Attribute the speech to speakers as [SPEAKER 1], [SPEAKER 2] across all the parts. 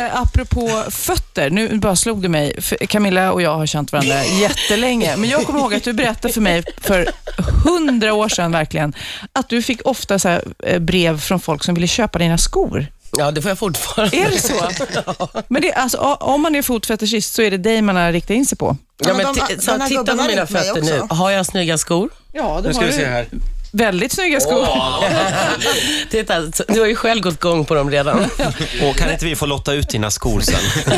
[SPEAKER 1] Eh, apropå fötter, nu bara slog det mig. För Camilla och jag har känt varandra jättelänge. Men jag kommer ihåg att du berättade för mig för hundra år sedan verkligen, att du fick ofta så här, eh, brev från folk som ville köpa dina skor.
[SPEAKER 2] Ja, det får jag fortfarande.
[SPEAKER 1] Är det så? Men det, är alltså, o- om man är fotfetischist så är det dig man har riktat in sig på.
[SPEAKER 2] Ja, men
[SPEAKER 3] de-
[SPEAKER 2] ti-
[SPEAKER 3] de
[SPEAKER 2] så
[SPEAKER 3] här
[SPEAKER 2] titta
[SPEAKER 3] gubbarna
[SPEAKER 2] på mina
[SPEAKER 3] ringt mig
[SPEAKER 2] fötter
[SPEAKER 3] också.
[SPEAKER 2] nu. Har jag snygga skor?
[SPEAKER 1] Ja,
[SPEAKER 4] Nu ska vi se här.
[SPEAKER 1] Väldigt snygga skor.
[SPEAKER 2] Titta, så- du har ju själv gått gång på dem redan.
[SPEAKER 5] Och kan inte vi få lotta ut dina skor sen?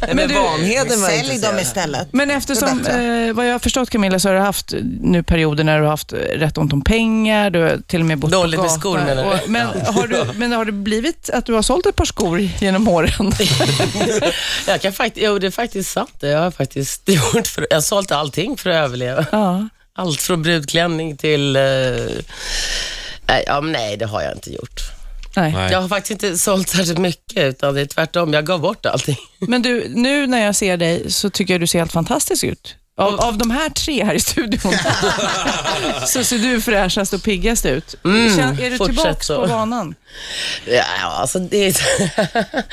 [SPEAKER 3] Men, men
[SPEAKER 1] du-
[SPEAKER 3] Vanheden var
[SPEAKER 6] Sälj dem
[SPEAKER 3] intresserad.
[SPEAKER 6] istället.
[SPEAKER 1] Men eftersom, eh, vad jag har förstått Camilla, så har du haft nu perioder när du har haft eh, rätt ont om pengar, du har till och med bott
[SPEAKER 2] Dåligt
[SPEAKER 1] på
[SPEAKER 2] med
[SPEAKER 1] gatan.
[SPEAKER 2] skor, menar du?
[SPEAKER 1] Och, men, har du, men har det blivit att du har sålt ett par skor genom åren?
[SPEAKER 2] Jag kan faktiskt, jo, det är faktiskt sant. Det har jag faktiskt gjort. För, jag har sålt allting för att överleva.
[SPEAKER 1] ja.
[SPEAKER 2] Allt från brudklänning till... eh, nej, ja, men nej, det har jag inte gjort.
[SPEAKER 1] Nej.
[SPEAKER 4] Nej.
[SPEAKER 2] Jag har faktiskt inte sålt särskilt mycket, utan det är tvärtom. Jag gav bort allting.
[SPEAKER 1] Men du, nu när jag ser dig så tycker jag du ser helt fantastisk ut. Av, av de här tre här i studion så ser du fräschast och piggast ut. Kän- är du
[SPEAKER 2] Mm. fortsätt
[SPEAKER 1] tillbaks
[SPEAKER 2] så.
[SPEAKER 1] på banan?
[SPEAKER 2] Ja, alltså det är,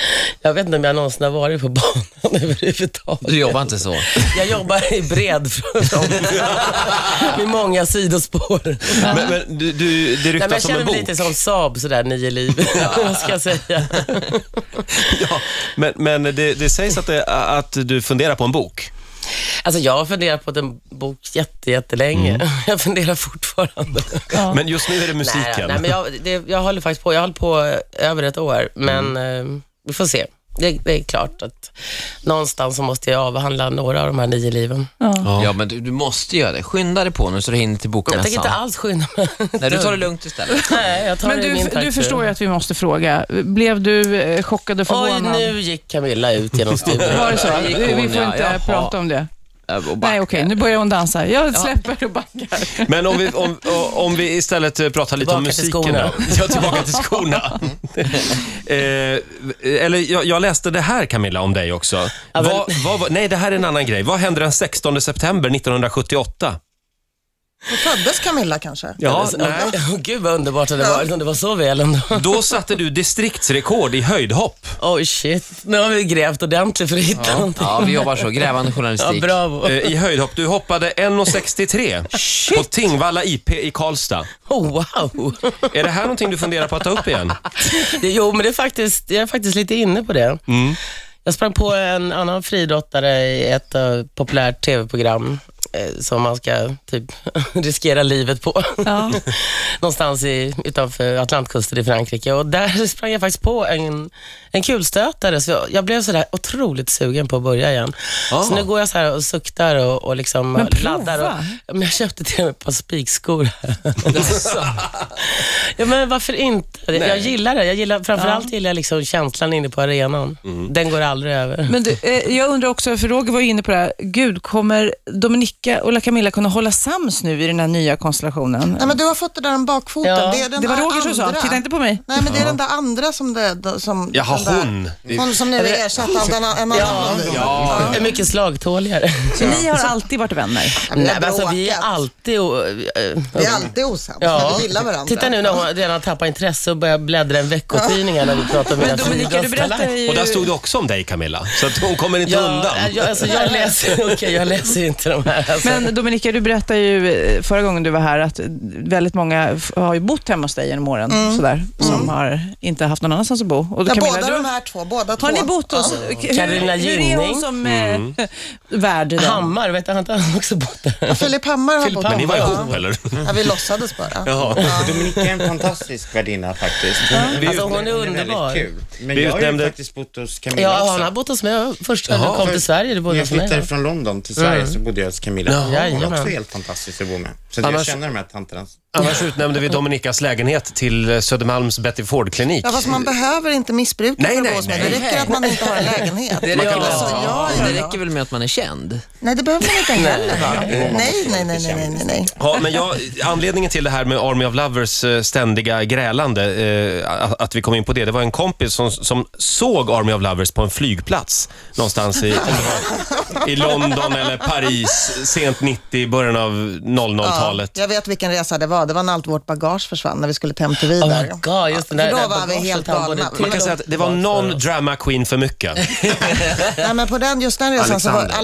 [SPEAKER 2] jag vet inte om jag någonsin har varit på banan överhuvudtaget.
[SPEAKER 7] Du jobbar inte så.
[SPEAKER 2] Jag jobbar i bred front med många sidospår.
[SPEAKER 5] Men, men du, du,
[SPEAKER 2] Nej,
[SPEAKER 5] det
[SPEAKER 2] men jag
[SPEAKER 5] ryktas om
[SPEAKER 2] känner mig
[SPEAKER 5] en bok.
[SPEAKER 2] lite som Saab sådär, nio liv. Vad ska jag säga?
[SPEAKER 5] Ja, men men det, det sägs att, det, att du funderar på en bok.
[SPEAKER 2] Alltså jag har funderat på den bok jätte, jättelänge. Jag funderar fortfarande.
[SPEAKER 5] Men just nu är det musiken.
[SPEAKER 2] Nej, nej, men jag, det, jag håller faktiskt på. Jag har hållit på eh, över ett år, men eh, vi får se. Det, det är klart att någonstans så måste jag avhandla några av de här nio liven.
[SPEAKER 7] Ja, men du, du måste göra det. Skynda dig på nu så du hinner till
[SPEAKER 2] Jag tänker inte
[SPEAKER 7] bokmässan.
[SPEAKER 2] alls skynda mig.
[SPEAKER 7] Nej, du tar det lugnt istället.
[SPEAKER 2] Nej, jag tar
[SPEAKER 1] Men
[SPEAKER 2] det i min
[SPEAKER 1] du,
[SPEAKER 2] takt.
[SPEAKER 1] du förstår ju att vi måste fråga. Blev du eh, chockad och
[SPEAKER 2] Oj,
[SPEAKER 1] förvånad?
[SPEAKER 2] nu gick Camilla ut genom studion.
[SPEAKER 1] Var det så?
[SPEAKER 7] Där gick
[SPEAKER 1] Vi, vi
[SPEAKER 7] hon,
[SPEAKER 1] får
[SPEAKER 7] ja.
[SPEAKER 1] inte
[SPEAKER 7] Jaha.
[SPEAKER 1] prata om det.
[SPEAKER 7] Och bara-
[SPEAKER 1] Nej, okej, nu börjar hon dansa. Jag släpper och backar.
[SPEAKER 5] Men om vi, om, om vi istället eh, pratar lite om
[SPEAKER 2] Tillbaka till skorna.
[SPEAKER 5] musiken. då. Ja, tillbaka till skorna. eh, eller jag, jag läste det här Camilla om dig också.
[SPEAKER 2] Ja, men-
[SPEAKER 5] Vad, vad, var- nej, det här är en annan grej. Vad hände den 16 september 1978?
[SPEAKER 6] Då föddes Camilla kanske?
[SPEAKER 5] Ja,
[SPEAKER 2] Åh, Gud vad underbart det hade varit om det var så väl ändå.
[SPEAKER 5] Då satte du distriktsrekord i höjdhopp.
[SPEAKER 2] Oj shit, nu har vi grävt ordentligt för att hitta någonting.
[SPEAKER 7] Ja, vi jobbar så. Grävande
[SPEAKER 2] Ja,
[SPEAKER 7] journalistik.
[SPEAKER 2] bravo.
[SPEAKER 5] Eh, I höjdhopp. Du hoppade 1,63 på Tingvalla IP i Karlstad.
[SPEAKER 2] Oh, wow.
[SPEAKER 5] Är det här någonting du funderar på att ta upp igen?
[SPEAKER 2] Det, jo, men det är faktiskt, jag är faktiskt lite inne på det. Jag sprang på en annan friidrottare i ett eh, populärt tv-program eh, som man ska typ riskera livet på.
[SPEAKER 1] Ja.
[SPEAKER 2] Någonstans i, utanför Atlantkusten i Frankrike. Och där sprang jag faktiskt på en, en kulstötare, så jag, jag blev sådär otroligt sugen på att börja igen. Så nu går jag så här och suktar och, och liksom
[SPEAKER 1] Men prova.
[SPEAKER 2] laddar. Och, Ja, men jag köpte till och med ett par spikskor. ja, men varför inte? Jag gillar det. Jag gillar, framförallt gillar jag liksom känslan inne på arenan. Den går aldrig över.
[SPEAKER 1] Men du, eh, jag undrar också, för Roger var ju inne på det här, gud, kommer Dominika och La Camilla kunna hålla sams nu i den här nya konstellationen?
[SPEAKER 6] Nej, men du har fått det där om bakfoten.
[SPEAKER 2] Ja,
[SPEAKER 6] det, är den
[SPEAKER 1] Det var
[SPEAKER 6] där
[SPEAKER 1] Roger som sa,
[SPEAKER 6] andra.
[SPEAKER 1] titta inte på mig.
[SPEAKER 6] Nej, men det är den där andra som det... Som,
[SPEAKER 5] Jaha,
[SPEAKER 6] den där-
[SPEAKER 5] hon.
[SPEAKER 6] Hon som nu är ersatt av den, en annan.
[SPEAKER 2] Ja. Jag är mycket slagtåligare.
[SPEAKER 1] Så ni har alltid varit vänner.
[SPEAKER 6] Vi har
[SPEAKER 2] Nej, men alltså, vi är
[SPEAKER 6] bråkat.
[SPEAKER 2] alltid... Och, eh,
[SPEAKER 6] Vi är alltid osams,
[SPEAKER 2] Ja.
[SPEAKER 6] men vi gillar varandra.
[SPEAKER 2] Titta nu när hon redan tappar intresse och börjar bläddra i veckotidningar när vi pratar om mina
[SPEAKER 1] Men Dominika, du berättade
[SPEAKER 2] friidrottstalanger.
[SPEAKER 1] ju...
[SPEAKER 5] Och där stod det också om dig Camilla, så att hon kommer inte
[SPEAKER 2] Ja,
[SPEAKER 5] undan.
[SPEAKER 2] jag, alltså jag läser, okay, jag läser inte de här. Alltså.
[SPEAKER 1] Men Dominika, du berättade ju eh, förra gången du var här att väldigt många f- har ju bott hemma hos dig genom åren, sådär, som har inte haft någon annanstans att bo. Och
[SPEAKER 6] Mm. Ja,
[SPEAKER 1] Camilla,
[SPEAKER 6] båda
[SPEAKER 1] du-
[SPEAKER 6] de här två. Båda två.
[SPEAKER 1] Har ni bott hos... Hur,
[SPEAKER 2] Carolina
[SPEAKER 1] hur är hon
[SPEAKER 2] Gynning.
[SPEAKER 1] som eh, värd? då?
[SPEAKER 2] Hammar, vet du, han har också bott där.
[SPEAKER 6] Ja. Filip Hammar har
[SPEAKER 2] Filip
[SPEAKER 6] bott
[SPEAKER 2] Hammar.
[SPEAKER 5] Men ni var
[SPEAKER 6] Ja.
[SPEAKER 5] ihop eller?
[SPEAKER 6] Ja, vi låtsades bara.
[SPEAKER 4] Dominika är en fantastisk värdinna faktiskt. Hon,
[SPEAKER 2] Alltså, hon är
[SPEAKER 4] väldigt
[SPEAKER 2] underbar.
[SPEAKER 4] kul. Men
[SPEAKER 5] Vi
[SPEAKER 4] jag har
[SPEAKER 5] utnämnde-
[SPEAKER 4] ju faktiskt bott hos Camilla
[SPEAKER 2] Ja, han
[SPEAKER 4] också.
[SPEAKER 2] har bott hos mig först när du kom
[SPEAKER 4] För-
[SPEAKER 2] till Sverige. Du
[SPEAKER 4] när
[SPEAKER 2] bodde
[SPEAKER 4] jag
[SPEAKER 2] hos mig.
[SPEAKER 4] flyttade från London till Sverige så bodde jag hos Camilla. Hon är
[SPEAKER 2] Mm. Jajamän.
[SPEAKER 4] också helt fantastisk att bo med. Så att
[SPEAKER 5] Annars-
[SPEAKER 4] jag känner de här tanterna.
[SPEAKER 5] Annars utnämnde vi Dominikas lägenhet till eh, Södermalms Betty Ford-klinik.
[SPEAKER 6] Ja, fast man behöver inte missbruka
[SPEAKER 5] Nej,
[SPEAKER 6] för att
[SPEAKER 5] nej,
[SPEAKER 6] gå hos mig.
[SPEAKER 5] nej.
[SPEAKER 6] Det räcker att man inte har en lägenhet.
[SPEAKER 7] Det räcker,
[SPEAKER 6] Alltså, ja, ja,
[SPEAKER 7] det
[SPEAKER 6] ja.
[SPEAKER 7] räcker väl med att man är känd?
[SPEAKER 6] Nej, det behöver man inte heller va? Nej, nej, nej, nej, nej, nej, nej.
[SPEAKER 5] Ja, men jag, anledningen till det här med Army of Lovers eh, ständiga grälande, eh, att- att vi kom in på det, det var en kompis som, som såg Army of Lovers på en flygplats någonstans i, om det var i London eller Paris sent 90, början av 00-talet.
[SPEAKER 6] Ja, jag vet vilken resa det var. Det var när allt vårt bagage försvann när vi skulle till MTV.
[SPEAKER 5] Oh
[SPEAKER 6] där.
[SPEAKER 5] my
[SPEAKER 2] God, just det,
[SPEAKER 6] För
[SPEAKER 2] där-
[SPEAKER 6] då
[SPEAKER 2] där
[SPEAKER 6] var vi
[SPEAKER 2] bagaget
[SPEAKER 6] helt
[SPEAKER 2] han
[SPEAKER 6] galna.
[SPEAKER 2] både
[SPEAKER 5] Man kan säga att det var någon drama queen för mycket.
[SPEAKER 6] Nej, men på den, just den resan så var
[SPEAKER 5] Alexander.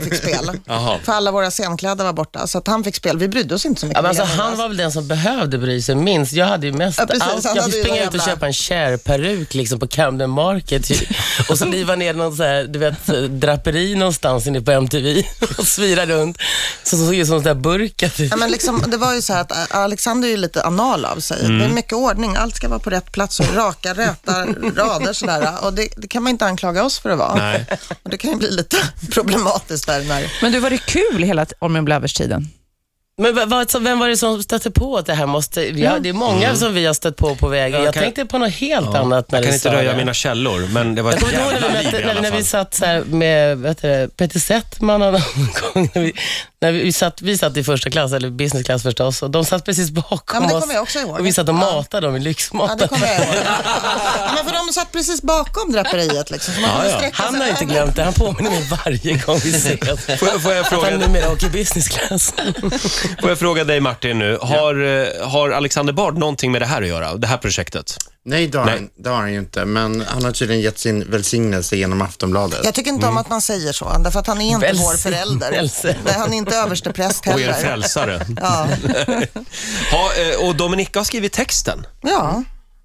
[SPEAKER 6] Alexander fick spel.
[SPEAKER 5] Jaha.
[SPEAKER 6] För alla våra scenkläder var borta, så att han fick spel. Vi brydde oss inte så mycket.
[SPEAKER 2] Ja, men alltså,
[SPEAKER 6] mer om
[SPEAKER 2] han var väl den som behövde bry sig minst. Jag hade ju mest
[SPEAKER 6] Ja, precis.
[SPEAKER 2] allt.
[SPEAKER 6] Han
[SPEAKER 2] Jag
[SPEAKER 6] hade
[SPEAKER 2] fick
[SPEAKER 6] ju
[SPEAKER 2] springa
[SPEAKER 6] någon
[SPEAKER 2] ut och
[SPEAKER 6] jävla-
[SPEAKER 2] köpa en Cher-peruk liksom, på Camden Market och så liva ner någon så här, du vet, draperi någonstans inne på MTV och svira runt. Så så såg ut som en sån där burka. Typ.
[SPEAKER 6] Ja, men liksom, det var ju så här att eh, Alexander är ju lite anal av sig.
[SPEAKER 2] Mm.
[SPEAKER 6] Det är mycket ordning, allt ska vara på rätt plats och raka räta rader sådär. Och det, det kan man inte anklaga oss för att vara.
[SPEAKER 5] Nej.
[SPEAKER 6] Och det kan ju bli lite problematiskt där när...
[SPEAKER 1] Men du, var det kul hela t- Ormen Blavers-tiden?
[SPEAKER 2] Men vad- vad- så vem var det som stötte på att det här måste... Ja,
[SPEAKER 1] Ja.
[SPEAKER 2] det är många
[SPEAKER 5] Mm.
[SPEAKER 2] som vi har stött på på vägen.
[SPEAKER 5] Jag
[SPEAKER 2] Jag
[SPEAKER 5] kan-
[SPEAKER 2] tänkte på något helt
[SPEAKER 5] Ja.
[SPEAKER 2] annat när
[SPEAKER 5] jag kan
[SPEAKER 2] du
[SPEAKER 5] inte
[SPEAKER 2] sa
[SPEAKER 5] röja
[SPEAKER 2] det.
[SPEAKER 5] mina källor, men det var
[SPEAKER 2] Jag
[SPEAKER 5] ett
[SPEAKER 2] kommer du ihåg när vi,
[SPEAKER 5] jävla liv
[SPEAKER 2] mötte,
[SPEAKER 5] i
[SPEAKER 2] när,
[SPEAKER 5] alla
[SPEAKER 2] när vi
[SPEAKER 5] fall.
[SPEAKER 2] satt så här med vad heter det, Peter Settman och någon gång. När vi, när vi, vi, satt, vi satt i första klass, eller business class förstås, och de satt precis
[SPEAKER 6] Ja,
[SPEAKER 2] bakom
[SPEAKER 6] men det
[SPEAKER 2] oss.
[SPEAKER 6] kommer jag också ihåg.
[SPEAKER 2] Och vi satt och
[SPEAKER 6] Ja.
[SPEAKER 2] matade dem i lyxmat.
[SPEAKER 6] Ja, det kommer jag ihåg. Ja, men för de satt precis bakom draperiet liksom. Så man kunde sträcka sig
[SPEAKER 2] Han har inte
[SPEAKER 6] över.
[SPEAKER 2] glömt det. Han påminner mig varje gång vi ses.
[SPEAKER 5] Får jag- får jag fråga-
[SPEAKER 2] Att han numera åker business class.
[SPEAKER 5] Får jag fråga dig Martin nu, har, eh, har Alexander Bard någonting med det här att göra? Det här projektet?
[SPEAKER 4] Nej, det har,
[SPEAKER 5] Nej.
[SPEAKER 4] Han, det har han ju inte, men han har tydligen gett sin välsignelse genom Aftonbladet.
[SPEAKER 6] Jag tycker inte
[SPEAKER 5] Mm.
[SPEAKER 6] om att man säger så, därför att han är inte vår förälder.
[SPEAKER 2] Välsignelse.
[SPEAKER 6] Nej, han är inte överstepräst
[SPEAKER 5] Och er
[SPEAKER 6] heller.
[SPEAKER 5] frälsare.
[SPEAKER 6] Ja.
[SPEAKER 5] ha, eh, och Dominika har skrivit texten.
[SPEAKER 6] Ja,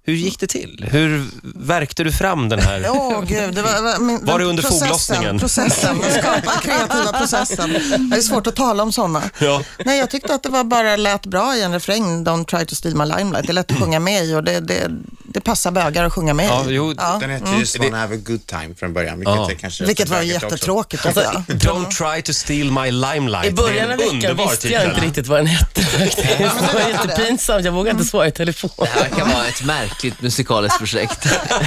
[SPEAKER 5] Hur gick det till? Hur värkte du fram den här?
[SPEAKER 6] åh gud. Det var, var, min,
[SPEAKER 5] Var det under
[SPEAKER 6] processen,
[SPEAKER 5] foglossningen?
[SPEAKER 6] Processen, den skapa kreativa processen. Det är svårt att tala om sådana.
[SPEAKER 5] Ja.
[SPEAKER 6] Nej, jag tyckte att det var bara lät bra i en refräng, Don't try to steal my limelight. Det är lätt att sjunga med i och det, det, det passar bögar att sjunga med i.
[SPEAKER 5] Ja, jo,
[SPEAKER 4] Den hette
[SPEAKER 2] Mm.
[SPEAKER 4] ju Swan Have a Good Time från början, vilket
[SPEAKER 5] Ja.
[SPEAKER 4] är kanske
[SPEAKER 6] Vilket var
[SPEAKER 4] bögigt också.
[SPEAKER 6] jättetråkigt tycker
[SPEAKER 5] Alltså,
[SPEAKER 6] jag.
[SPEAKER 5] Don't try to steal my limelight.
[SPEAKER 2] I början
[SPEAKER 5] Det
[SPEAKER 2] av
[SPEAKER 5] är en
[SPEAKER 2] veckan
[SPEAKER 5] underbar
[SPEAKER 2] visste jag
[SPEAKER 5] titel.
[SPEAKER 2] inte riktigt vad den hette faktiskt. Det var jättepinsamt. Jag vågade
[SPEAKER 6] Mm.
[SPEAKER 2] inte svara i telefon.
[SPEAKER 7] Det här kan vara ett märkligt musikaliskt projekt.
[SPEAKER 2] Nej,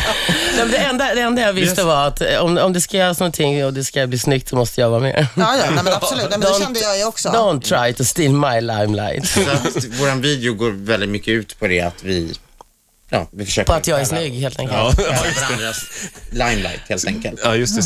[SPEAKER 2] men Det enda, det enda jag visste var att eh, om, om det ska göras någonting och det ska bli snyggt så måste jag vara med.
[SPEAKER 6] Ja, ja, nej, men absolut. Nej, men det
[SPEAKER 2] Don't-
[SPEAKER 6] kände jag ju också.
[SPEAKER 2] Don't try to steal my limelight.
[SPEAKER 4] Så att vår video går väldigt mycket ut på det att vi, ja, vi försöker
[SPEAKER 2] På att jag är
[SPEAKER 4] stjäla-
[SPEAKER 2] snygg helt enkelt.
[SPEAKER 4] Ja, stjäla varandras limelight helt enkelt.
[SPEAKER 5] Ja, just det.